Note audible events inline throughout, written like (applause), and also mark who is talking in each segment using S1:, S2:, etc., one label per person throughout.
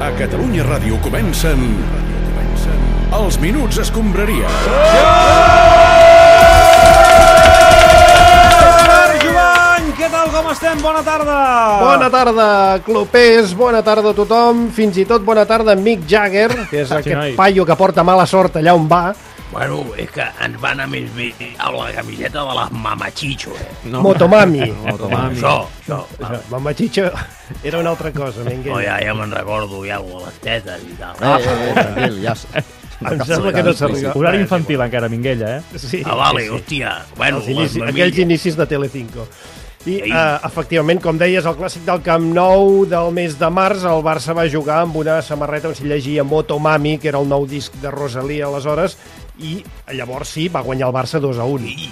S1: A Catalunya Ràdio comencen... Els Minuts Escombraria.
S2: Marc Joan, què tal, com estem? Bona tarda!
S3: Bona
S4: Ah.
S3: tarda, clopers, bona tarda a tothom, fins i tot bona tarda a Mick Jagger,
S4: Ah,
S3: que és aquest
S2: noi.
S3: paio que porta mala sort allà on va.
S4: Bueno, és que ens va anar més bé amb la camiseta de les Mamachicho, eh?
S3: No.
S4: (laughs)
S3: Motomami.
S2: Motomami.
S4: Això, això. va.
S3: Mama Chicho era una altra
S4: No,
S3: cosa, m'entenc.
S4: Oh, ja, ja me'n recordo, hi ha alguna a les tetes i tal.
S5: Eh, eh, eh, tranquil, ja... s-
S3: Em sembla que no s'arriba.
S6: Horari infantil encara, Minguella, eh?
S3: Sí,
S4: Ah, vale,
S3: sí, sí.
S4: hòstia. Bueno,
S3: Els inici,
S4: les
S3: aquells
S4: mamilles.
S3: inicis de Telecinco. I,
S4: Ei.
S3: eh, efectivament, com deies, el clàssic del Camp Nou del mes de març, el Barça va jugar amb una samarreta on s'hi llegia Motomami, que era el nou disc de Rosalía aleshores, i llavors sí, va guanyar el Barça 2 a 1.
S4: I,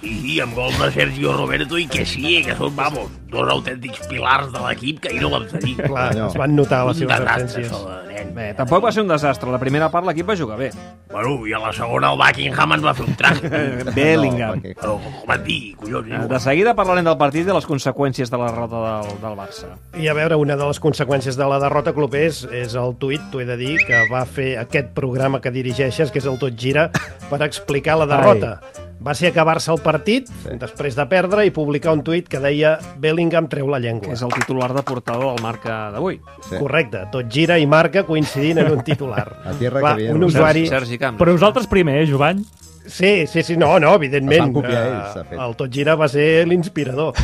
S4: i, I amb gols de Sergio Roberto i que sí, eh, que són, vamos, dos autèntics pilars de l'equip que ahir no vam tenir.
S3: Clar,
S5: Allò.
S3: es van notar les
S4: Un
S3: seves
S4: desastre,
S3: absències.
S4: això, de nen.
S2: Bé, tampoc va ser un desastre. La primera part l'equip va jugar bé.
S4: Bueno, i a la segona el Buckingham ens va fer un traje.
S2: Bellingham.
S5: No, perquè-
S4: Però, com van dir, collons, eh?
S2: De seguida parlarem del partit i de les conseqüències de la derrota del, del Barça.
S3: I a veure, una de les conseqüències de la derrota clubers és el tuit, t'ho he de dir, que va fer aquest programa que dirigeixes, que és el Tot Gira, per explicar la derrota. Va ser acabar-se el partit, després de perdre, i publicar un tuit que deia Bellingham treu la
S2: Que
S3: llengua.
S2: és el titular de portador del marca d'avui.
S5: Sí.
S3: Correcte, Tot Gira i Marca coincidint en un titular.
S5: (laughs) A tierra
S3: Clar,
S5: que viene.
S3: un usuari...
S2: Sergi, Sergi Camps.
S6: Però vosaltres primer, eh, Jovany?
S3: Sí, sí, sí, no, no, evidentment.
S5: Es van copiar
S3: eh,
S5: ells, de fet.
S3: El Tot Gira va ser l'inspirador.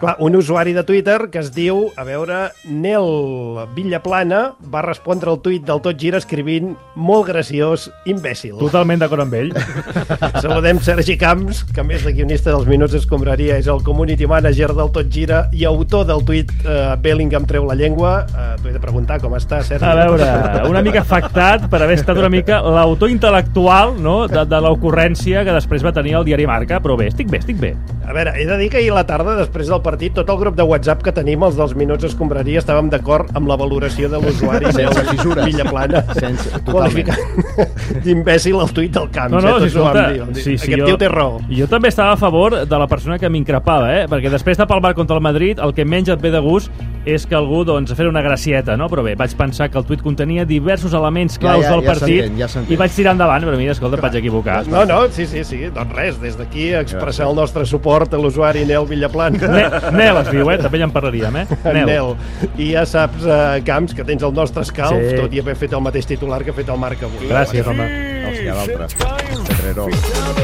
S3: Clar, un usuari de Twitter que es diu, a veure, Nel Villaplana va respondre al tuit del Tot Gira escrivint molt graciós, imbècil.
S6: Totalment d'acord amb ell.
S3: (laughs) Saludem Sergi Camps, que a més de guionista dels Minuts Escombraria és el community manager del Tot Gira i autor del tuit eh, Bellingham treu la llengua. Eh, T'ho he de preguntar com està, Sergi.
S6: A veure, una mica afectat per haver estat una mica l'autor intel·lectual no? de, de l'ocurrència que després va tenir el diari Marca, però bé, estic bé, estic bé.
S3: A veure, he de dir que ahir a la tarda, després del partit, tot el grup de WhatsApp que tenim, els dels Minuts Escombraria, estàvem d'acord amb la valoració de l'usuari.
S5: Sense fissures.
S3: Villaplana.
S5: Sense- totalment.
S3: Qualificant D'imbècil el tuit del camp.
S6: No, no,
S3: eh,
S6: si
S3: tots ho vam dir,
S6: escolta,
S3: vam dir,
S6: sí, sí,
S3: Aquest tio té raó.
S6: Jo també estava a favor de la persona que m'increpava, eh? Perquè després de palmar contra el Madrid, el que menys et ve de gust és que algú, doncs, fer una gracieta, no? Però bé, vaig pensar que el tuit contenia diversos elements claus
S5: ja,
S6: del
S5: ja
S6: partit
S5: s'entén, ja s'entén.
S6: i vaig tirar endavant, però mira, escolta, em vaig equivocar.
S3: No, no, sí, sí, sí. Doncs res, des d'aquí expressar el nostre suport a l'usuari Nel Villaplana.
S6: Ne Nel es diu, eh? També ja en parlaríem, eh?
S3: Nel. Nel. I ja saps, eh, Camps, que tens el nostre escalf,
S6: Sí.
S3: sí. tot i haver fet el mateix titular que ha fet el Marc avui.
S6: Gràcies, home.
S5: Hòstia, l'altre. Pedrerol.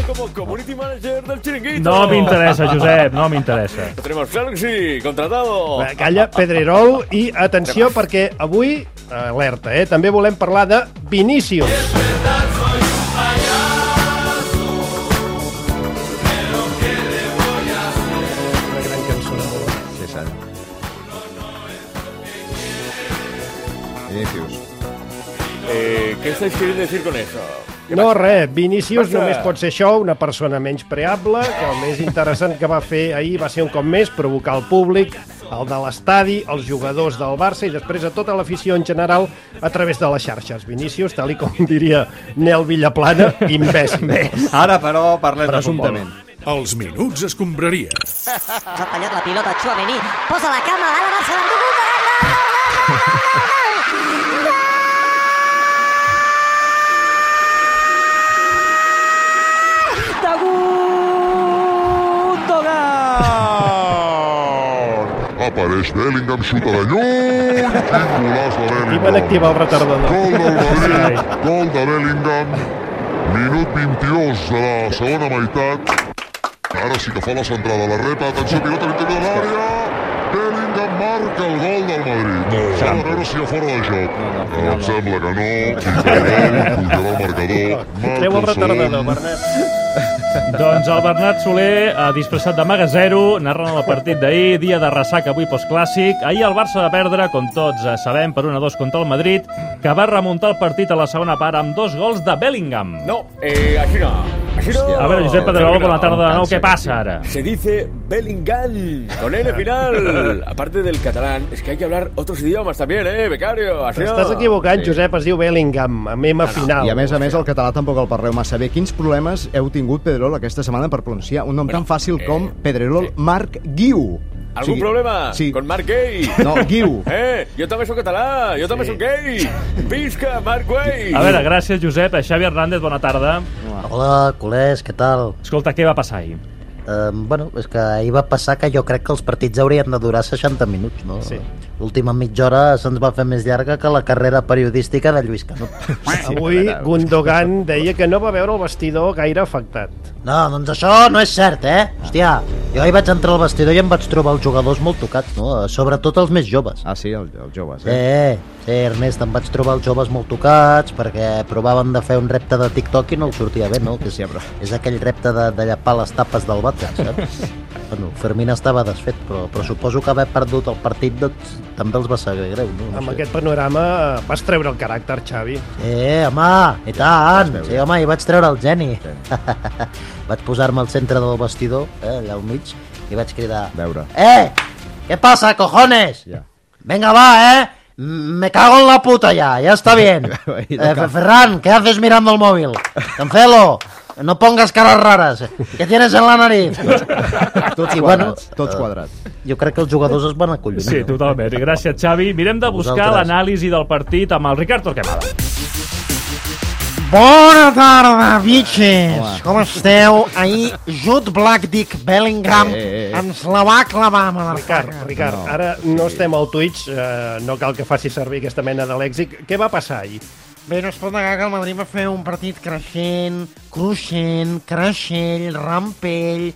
S7: como community manager del chiringuito.
S6: No m'interessa, Josep, no m'interessa.
S7: Tenemos claro que sí, contratado.
S3: Va, Calla, Pedrerol, i atenció, perquè avui, alerta, eh, també volem parlar de Vinícius. Una gran cançó.
S5: Sí, sí. Inicius.
S7: Eh, ¿Qué estáis queriendo decir con eso?
S3: No, res, Vinícius
S7: Vaja.
S3: només pot ser això, una persona menys preable, que el més interessant que va fer ahir va ser un cop més provocar el públic, el de l'estadi, els jugadors del Barça i després a tota l'afició en general a través de les xarxes. Vinícius, tal i com (laughs) diria Nel Villaplana, imbècil.
S2: Ara, però, parlem
S5: Presumptament.
S1: Els Minuts Escombraria.
S8: Ha apanhat la pilota Txuameni. Posa la cama, ara Barça l'ha tingut. Gol, gol, gol, gol, gol, gol, gol.
S9: Apareix Bellingham, xuta de lluny, quin golaç de
S3: I van
S9: Bellingham.
S3: activar el retardador.
S9: Gol
S3: (laughs)
S9: del Madrid, gol de Bellingham, minut 22 de la segona meitat. Ara sí que fa la centrada, la repa, atenció, pilota a l'interior de l'àrea, Bellingham marca el gol del Madrid. S'ha de veure si hi ha fora de joc. Em sembla que no, i que el gol pujarà al marcador.
S3: Treu
S9: Marca
S3: el
S9: el
S3: retardador,
S9: segon,
S3: Bernat.
S6: Doncs el Bernat Soler, eh, disfressat de maga zero, narrant el partit d'ahir, dia de ressaca avui postclàssic. Ahir el Barça va perdre, com tots eh, sabem, per 1-2 contra el Madrid, que va remuntar el partit a la segona part amb dos gols de Bellingham.
S7: No, eh, aquí no. Aquí no.
S6: A veure, Josep Pedrerol, bona tarda de nou. Què passa ara?
S7: Se dice Bellingham, con N
S6: (laughs)
S7: final. Aparte del catalán, es que hay que hablar otros idiomas también, ¿eh, becario? Así no.
S3: T'estàs equivocant, Josep, es diu Bellingham, amb M final.
S5: I a més a més, el català tampoc el parleu massa bé. Quins problemes heu tingut, Pedrerol, aquesta setmana per pronunciar un nom tan fàcil com Pedrerol Marc Guiu?
S7: ¿Algún
S5: Sí.
S7: problema
S5: Sí.
S7: con Mark Gay?
S5: No, Guiu.
S7: Eh, jo també sóc català, jo també sóc gay. Visca Marc Gay!
S6: A veure, gràcies, Josep. Eh, Xavi Hernández, bona tarda.
S10: Hola, culers, què tal?
S6: Escolta, què va passar ahir?
S10: Um, bueno, és que ahir va passar que jo crec que els partits haurien de durar 60 minuts, no?
S3: Sí.
S10: L'última mitja hora se'ns va fer més llarga que la carrera periodística de Lluís Canut.
S3: Avui Gundogan deia que no va veure el vestidor gaire afectat.
S10: No, doncs això no és cert, eh? Hòstia, jo ahir vaig entrar al vestidor i em vaig trobar els jugadors molt tocats, no? Eh, Sobretot els més joves.
S5: Ah, sí, el- els joves, eh?
S10: Sí, sí, Ernest, em vaig trobar els joves molt tocats perquè provaven de fer un repte de TikTok i no els sortia bé, no? Que és, és aquell repte de, de llapar les tapes del vàter, saps? Bueno, Fermín estava desfet, però, però suposo que haver perdut el partit doncs, també els va saber greu, no? no
S3: Amb
S10: sé.
S3: aquest panorama eh, vas treure el caràcter, Xavi.
S10: Eh, home, i tant! Sí, home, i vaig treure el geni. (laughs) vaig posar-me al centre del vestidor, eh, allà al mig, i vaig cridar...
S5: Veure.
S10: Eh! Què passa, cojones?
S5: Ja.
S10: Venga, va, eh! Mm, Me cago en la puta ya, ya
S5: (laughs)
S10: está bien.
S5: Ahí
S10: Eh,
S5: toca.
S10: Fe- Ferran, ¿qué haces mirando el móvil? Cancelo, no pongas caras raras. ¿Qué tienes en la nariz?
S5: Tots
S10: I bueno,
S5: quadrats, tots
S10: eh,
S5: quadrats.
S10: Jo crec que els jugadors es van acollir.
S6: Sí, totalment. Gràcies, Xavi. Mirem de buscar
S10: vosaltres.
S6: l'anàlisi del partit amb el Ricard Torquemada.
S10: Bona tarda, bitxes! Com esteu? Ahir Jude Black Dick Bellingham
S5: Eh, eh, eh.
S10: ens la va clavar amb el
S3: Ricard, Ricard,
S5: No.
S3: ara no estem al Twitch, eh, no cal que faci servir aquesta mena de lèxic. Què va passar ahir?
S10: Bé, no es pot negar que el Madrid va fer un partit creixent, cruixent, creixell, rampell,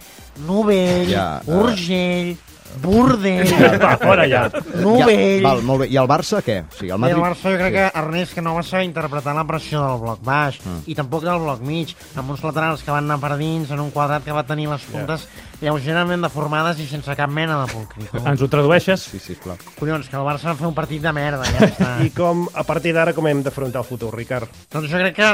S10: novell,
S5: Ja, eh.
S10: urgell, bordell,
S6: Va, fora ja.
S10: novell...
S5: val, molt bé. I el Barça, què? O sigui, el
S10: Madrid...
S5: Madrid...
S10: El Barça jo crec que Ernest que no va saber interpretar la pressió del bloc baix mm. i tampoc del bloc mig, amb uns laterals que van anar per dins, en un quadrat que va tenir les puntes yeah. lleugerament deformades i sense cap mena de
S5: (laughs)
S10: pulcritud.
S6: Ens ho tradueixes?
S5: Sí, sí, clar.
S10: Collons, que el Barça va fer un partit de merda, ja està.
S3: (laughs) I com, a partir d'ara, com hem d'afrontar el futur, Ricard?
S10: Doncs jo crec que,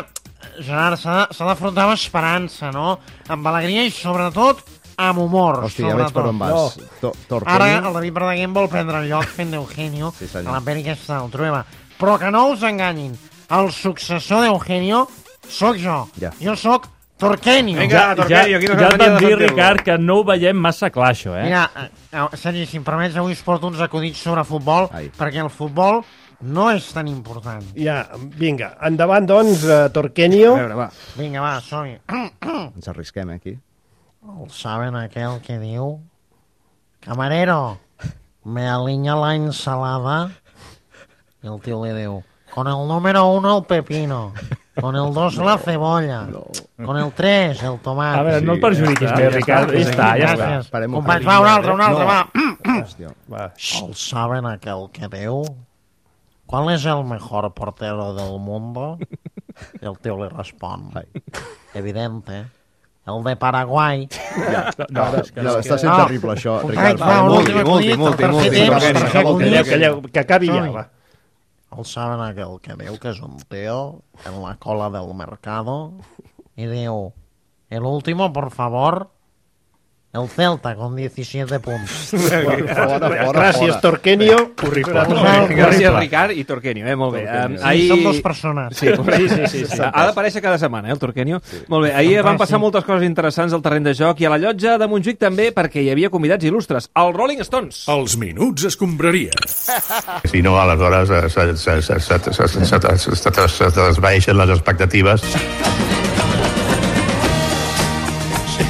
S10: Gerard, s'ha de- s'ha d'afrontar amb esperança, no? Amb alegria i, sobretot, amb humor.
S5: Hòstia, ja veig per on vas.
S3: No.
S5: No.
S10: Ara
S5: Torquemada...
S10: el David Verdaguer en vol prendre el lloc fent d'Eugenio
S5: Sí,
S10: a
S5: senyor.
S10: l'Amèrica aquesta del Trueba. Però que no us enganyin. El successor d'Eugenio sóc jo.
S5: Ja.
S10: Jo sóc Torquenio.
S2: Vinga, Torquenio, aquí no
S6: ja
S2: s'entenia
S6: et vam
S2: de
S6: dir,
S2: sentir-lo.
S6: Ricard, que no ho veiem massa clar, això, eh?
S10: Mira, eh, eh, Sergi, si em permets, avui us porto uns acudits sobre futbol,
S5: Ai.
S10: perquè el futbol no és tan important.
S3: Ja, vinga, endavant, doncs, eh, Torquenio.
S5: A veure, va.
S10: Vinga, va, som-hi.
S5: Ens arrisquem, eh, aquí.
S10: El saben aquel que diu... Camarero, me aliña la ensalada. I el tio li diu... Con el número uno el pepino. Con el dos la cebolla. Con el tres el tomate.
S6: A veure, no
S5: Sí,
S6: et perjudiquis
S5: ja
S6: més,
S5: està,
S6: Ricard. Ja està, ja està.
S10: Gràcies.
S5: Parem un
S10: Companys,
S5: parell.
S10: va, un altre, un altre,
S5: No.
S10: va. Mm,
S5: Hòstia.
S3: Va.
S10: El saben aquel que diu... ¿Cuál es el mejor portero del mundo? I el tio li respon... Evidente. El de Paraguai.
S5: No, no, està sent
S10: No.
S5: terrible, això, Ricard.
S10: va,
S7: Ah,
S10: un
S5: Multi,
S10: últim
S5: multi,
S10: acudit,
S5: multi,
S10: el tercer
S5: multi.
S10: temps,
S5: Torquemada,
S10: tercer
S5: Torquemada.
S3: Calleu,
S10: acudit.
S3: calleu, que acabi ja,
S10: Som-hi.
S3: va.
S10: El saben aquell que diu que és un tio en la cola del mercado y diu el último, por favor el Celta con 17 punts
S5: Fora, fora,
S3: Gràcies,
S5: fora.
S3: Torquenio. Horrible.
S2: Gràcies, Ricard i Torquenio, eh? Molt bé. Um, ahir...
S10: són dues persones.
S2: Sí, sí, sí, sí, sí. Ha d'aparèixer cada setmana, eh, el Torquenio. Sí. Molt bé, ahir
S10: Fantàstic.
S2: van passar moltes coses interessants al terreny de joc i a la llotja de Montjuïc també, perquè hi havia convidats il·lustres. El Rolling Stones.
S1: Els minuts escombraria.
S11: Si no, aleshores eh, se- se- se- se- se- se- se- se- se- se- se desvaeixen les expectatives.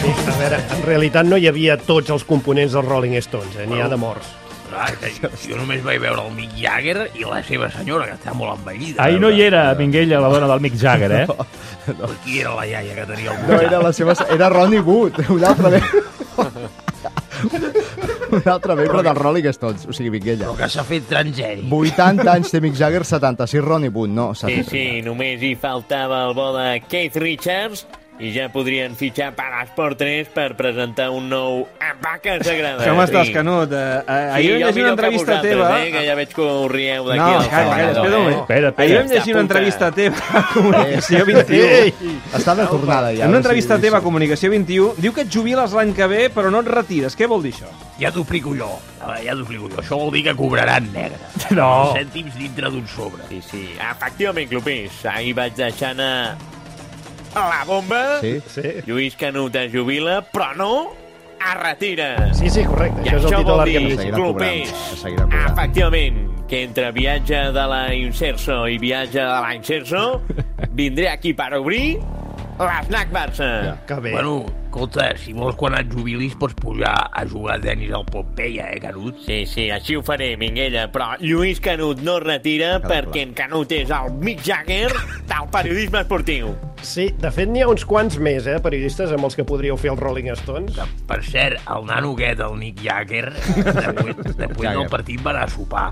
S3: A veure, en realitat no hi havia tots els components dels Rolling Stones, eh? n'hi ha de morts.
S4: Clar, que jo, jo només vaig veure el Mick Jagger i la seva senyora, que està molt envellida.
S6: Ahir no hi era Minguella, la dona del Mick Jagger, eh?
S4: Però Qui era la iaia que tenia el
S5: No, era la seva... Era Ronnie Wood, (laughs) un altre membre. un altre membre del Rolling Stones, o sigui, Minguella.
S4: que s'ha fet transgènic.
S5: 80 anys té Mick Jagger, 76 Ronnie Wood, no, 70.
S11: només hi faltava el bo de Keith Richards i ja podrien fitxar per Esport 3 per presentar un nou Vaca Sagrada.
S2: Com estàs, Canut? Eh, eh, ahir vam llegir una entrevista teva...
S10: eh,
S11: ja veig que us rieu
S2: No, calla, calla, espera un moment.
S11: eh?
S6: Espera, espera.
S2: Ahir vam llegir una
S11: Apunta.
S2: entrevista teva a Comunicació 21.
S5: Està de tornada,
S2: En una
S5: ja. o sigui,
S2: entrevista
S5: sí.
S2: teva a Comunicació 21 diu que et jubiles l'any que ve però no et retires. Què vol dir això?
S4: Ja t'ho explico jo. A veure, Ja t'ho explico jo. Això vol dir que cobraran negre.
S6: No.
S4: Cèntims dintre d'un sobre.
S11: Sí, sí, efectivament, Clopís. Ahir vaig deixar anar la bomba.
S5: Sí?
S3: Sí.
S11: Lluís Canut es jubila, però no es retira.
S3: Sí, sí, correcte.
S11: I
S3: Això és el titular que hem
S11: vol
S3: vist.
S11: dir clubers. Efectivament, que entre viatge de la Incerso i viatge de la
S3: (laughs)
S11: Incerso vindré aquí per obrir l'Snac Barça. Ja,
S3: que bé.
S4: Bueno, escolta, si vols quan et jubilis pots pujar a jugar a tenis al Pompeia, eh, Canut?
S11: Sí, sí, així ho faré, Minguella, però Lluís Canut no es retira perquè en Canut és el Mick Jagger del periodisme esportiu.
S3: Sí, de fet n'hi ha uns quants més, eh, periodistes amb els que podríeu fer els Rolling Stones.
S4: Per cert, el nano aquest, el Nick
S6: (laughs)
S4: Jagger, després, després del
S3: Jagger.
S4: partit va anar a sopar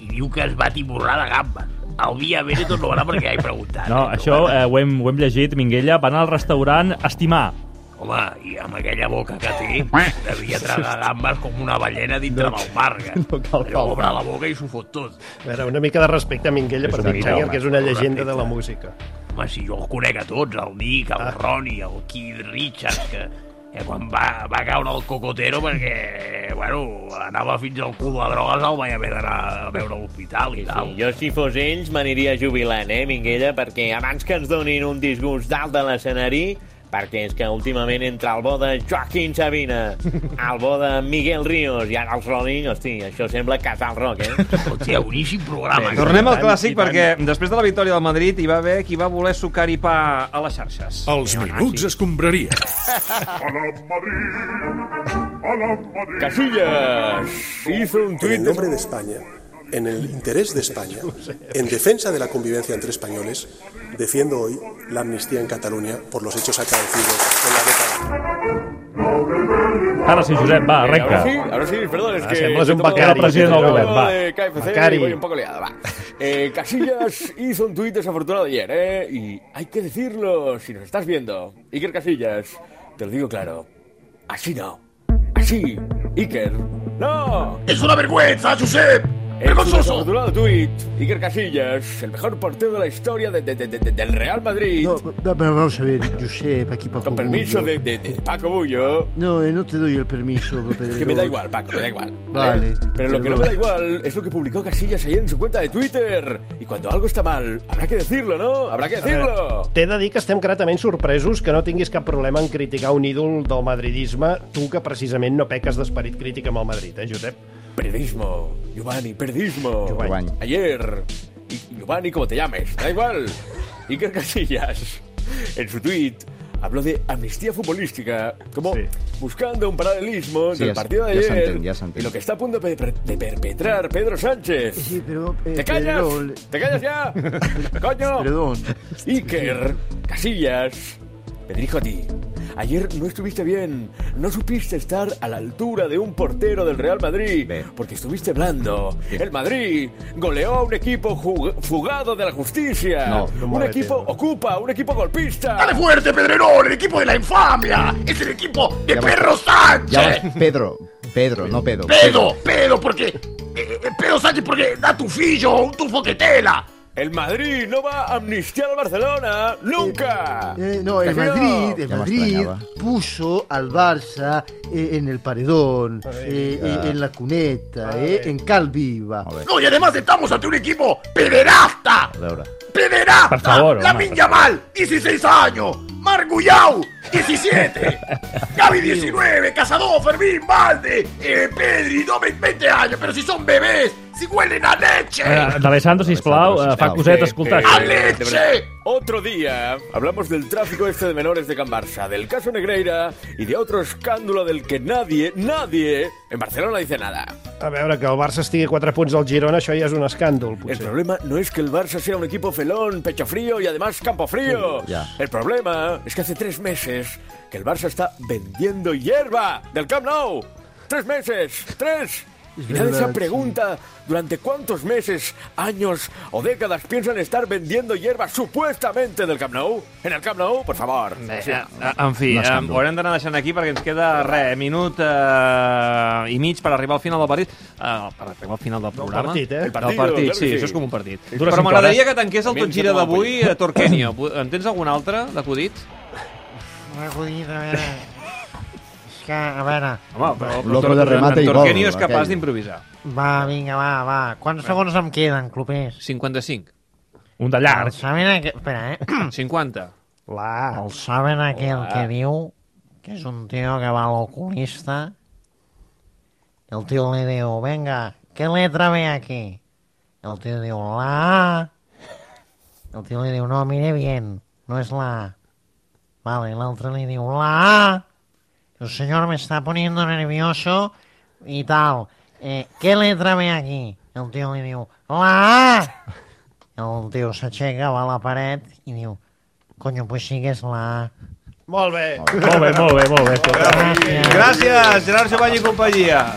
S4: i diu que es va tiborrar de gamba. El dia Benetton no va anar perquè hi preguntat.
S6: No, això eh, ho, hem, ho hem llegit, Minguella. Va anar al restaurant Estimar.
S4: Home, i amb aquella boca que té, devia tragar gambes com una ballena dintre del mar. que Allò obre la boca i s'ho fot tot.
S3: A veure, una mica de respecte a Minguella per
S4: És
S3: Mick
S4: una
S3: Jagger,
S4: mica,
S3: que és una
S4: home,
S3: llegenda de la
S4: correcte.
S3: música.
S4: Home, si jo els conec a tots, el Nick,
S6: Ah.
S4: el Ronnie, el Keith Richards, que, que quan va, va caure el cocotero perquè, eh, bueno, anava fins al cul de drogues, el vaig haver d'anar a veure a l'hospital i tal.
S11: I jo, si fos ells, m'aniria jubilant, eh, Minguella, perquè abans que ens donin un disgust dalt de l'escenari, perquè és que últimament entre el bo de
S12: (laughs)
S11: Joaquín Sabina, el bo de Miguel Ríos i ara els Rolling, hosti, això sembla Casal Rock, eh?
S4: Hòstia, boníssim programa.
S2: Tornem al clàssic perquè després de la victòria del Madrid hi va haver qui va voler sucar-hi pa a les xarxes.
S1: Els minuts escombraria.
S7: Casillas hizo un
S13: En el nombre de España, en el interés de España, en defensa de la convivencia entre españoles, defiendo hoy la amnistía en Cataluña por los hechos acaecidos en la década.
S6: Ara sí, Josep, va, arrenca.
S7: Ahora sí, ahora sí, perdón, es
S6: Ah,
S7: que...
S6: sembles
S7: me
S6: un
S7: tomo
S6: becari,
S7: la
S6: el president del
S7: de
S6: govern, va.
S7: KFC
S6: Becari.
S7: y voy un poco liado, va. Eh, Casillas hizo un tuit desafortunado ayer, ¿eh? Y hay que decirlo, si nos estás viendo. Iker Casillas, te lo digo claro, así no, así, Iker, no.
S9: Es una vergüenza, Josep.
S7: ¡Vergonzoso! desafortunado tuit, Iker Casillas, el mejor portero de la historia de- de- de- de- del Real Madrid,
S12: No, no, pero vamos a ver, Josep, aquí Paco
S7: con permiso
S12: Bullo.
S7: de, de- de Paco Bullo.
S12: No, eh, no te doy el permiso, pero...
S7: Que me da igual, Paco, me da igual.
S12: Vale.
S7: Pero lo que no me da igual es lo que publicó Casillas ayer en su cuenta de Twitter. Y cuando algo está mal, habrá que decirlo, ¿no? Habrá que
S3: A veure,
S7: decirlo.
S3: T'he de dir que estem gratament sorpresos que no tinguis cap problema en criticar un ídol del madridisme, tu que precisament no peques d'esperit crític amb el Madrid, eh, Josep?
S7: Periodismo, Giovanni, periodismo.
S3: Giovanni.
S7: Ayer, y- Giovanni, como te llames, da igual. Iker Casillas, en su tweet, habló de amnistía futbolística, como buscando un paralelismo
S5: Sí,
S7: del
S5: ya se-
S7: partido de
S5: ya
S7: ayer
S5: se entiende, ya se entiende.
S7: y lo que está a punto de, per- de perpetrar Pedro Sánchez.
S12: Sí, pero... eh,
S7: ¡Te callas!
S12: Pedro,
S7: ¡Te callas
S5: (laughs)
S7: ya! ¡Coño!
S12: Perdón.
S7: Iker, Casillas, me dirijo a ti. Ayer no estuviste bien, no supiste estar a la altura de un portero del Real Madrid, porque estuviste blando. El Madrid goleó a un equipo jug- fugado de la justicia,
S9: No, no
S7: un
S9: me
S7: equipo ocupa, un equipo golpista.
S9: ¡Dale fuerte, Pedrerol! ¡El equipo de la infamia! ¡Es el equipo de
S5: Ya va-
S9: Perro
S5: Ya
S9: Sánchez!
S5: vas, Pedro, Pedro, no Pedro.
S9: ¡Pedo! ¡Pedo! Porque. eh, eh, ¡Pedo Sánchez! Porque da tu fillo un tufo que tela.
S7: El Madrid no va a amnistiar al Barcelona, nunca.
S12: Eh, (laughs) no, el
S7: Casillas.
S12: Madrid, el
S7: Ya me
S12: Madrid
S7: extrañaba.
S12: puso al Barça eh, en el paredón, eh, eh,
S9: Ah.
S12: en la cuneta, eh, en cal viva.
S9: No, y además estamos ante un equipo pederasta. ¡Pederasta!
S12: Por favor,
S9: La
S12: hombre.
S9: Minya Mal, 16 años. Margullau,
S12: (laughs)
S9: 17. Gaby, 19. Casado, Fermín, Valde. Eh, Pedri, no, 20 años. Pero si son bebés, si huelen a leche.
S6: Eh, D'Alessandro, sisplau, eh, fa coset escoltar.
S7: Eh, eh, de verdad. Otro día hablamos del tráfico este de menores de Can Barça, del caso Negreira y de otro escándalo del que nadie, nadie en Barcelona dice nada.
S3: A veure, que el Barça estigui a 4 punts del Girona, això ja és un escàndol,
S7: El
S3: potser.
S7: problema no es que el Barça sea un equipo felón, pecho frío y además campo frío.
S3: Sí, ya.
S7: El problema es que hace tres meses que el Barça está vendiendo hierba del Camp Nou. ¡Tres meses! ¡Tres!
S12: Es
S7: Y nadie
S12: verdad,
S7: se pregunta durante cuántos meses, años o décadas piensan estar vendiendo hierba supuestamente del Camp Nou. ¿En el Camp Nou? Por favor. Sí.
S2: Eh, En
S7: Un
S2: fi, eh,
S7: escàndol.
S2: ho haurem d'anar deixant aquí perquè ens queda res, minut eh, i mig per arribar al final del partit. Eh, per arribar al final del programa.
S3: partit, eh?
S2: Del
S3: Partido,
S2: partit,
S3: clar
S2: sí,
S3: que sí.
S2: això és com un partit.
S3: Dura cinc
S2: Però m'agradaria
S3: hores.
S2: que tanqués el
S3: També
S2: tot
S3: ens
S2: gira
S3: hem
S2: d'avui
S3: aguantat.
S2: a Torquenio. En tens algun altre d'acudit?
S12: Una acudida, a veure... És que, a veure...
S2: Home, però, però
S5: Loco de
S2: Tor-
S5: remate i
S2: en
S5: gol,
S2: Torquenio és capaç
S5: aquell.
S2: d'improvisar.
S12: Va, vinga, va, va. Quants segons em queden, clubers?
S2: 55.
S6: Un de
S12: El saben aqu... Espera, eh?
S2: 50.
S12: La. El saben aquell
S2: La.
S12: que diu
S10: que es un tío que va al oculista. El tío le diu, venga, ¿qué letra ve aquí? El tío diu, la A. El tío le diu, no, mire bien, no es la A. Vale, el otro le diu, la A. El señor me está poniendo nervioso y tal. Eh, ¿Qué letra ve aquí? El tío le diu, la A. El tio s'aixeca, va a la paret i diu, coño, pues sí que és la A.
S14: Molt bé.
S3: Molt bé, molt bé, molt bé.
S14: Gràcies.
S10: ya.
S2: Gràcies, Gerard Giovanni i companyia.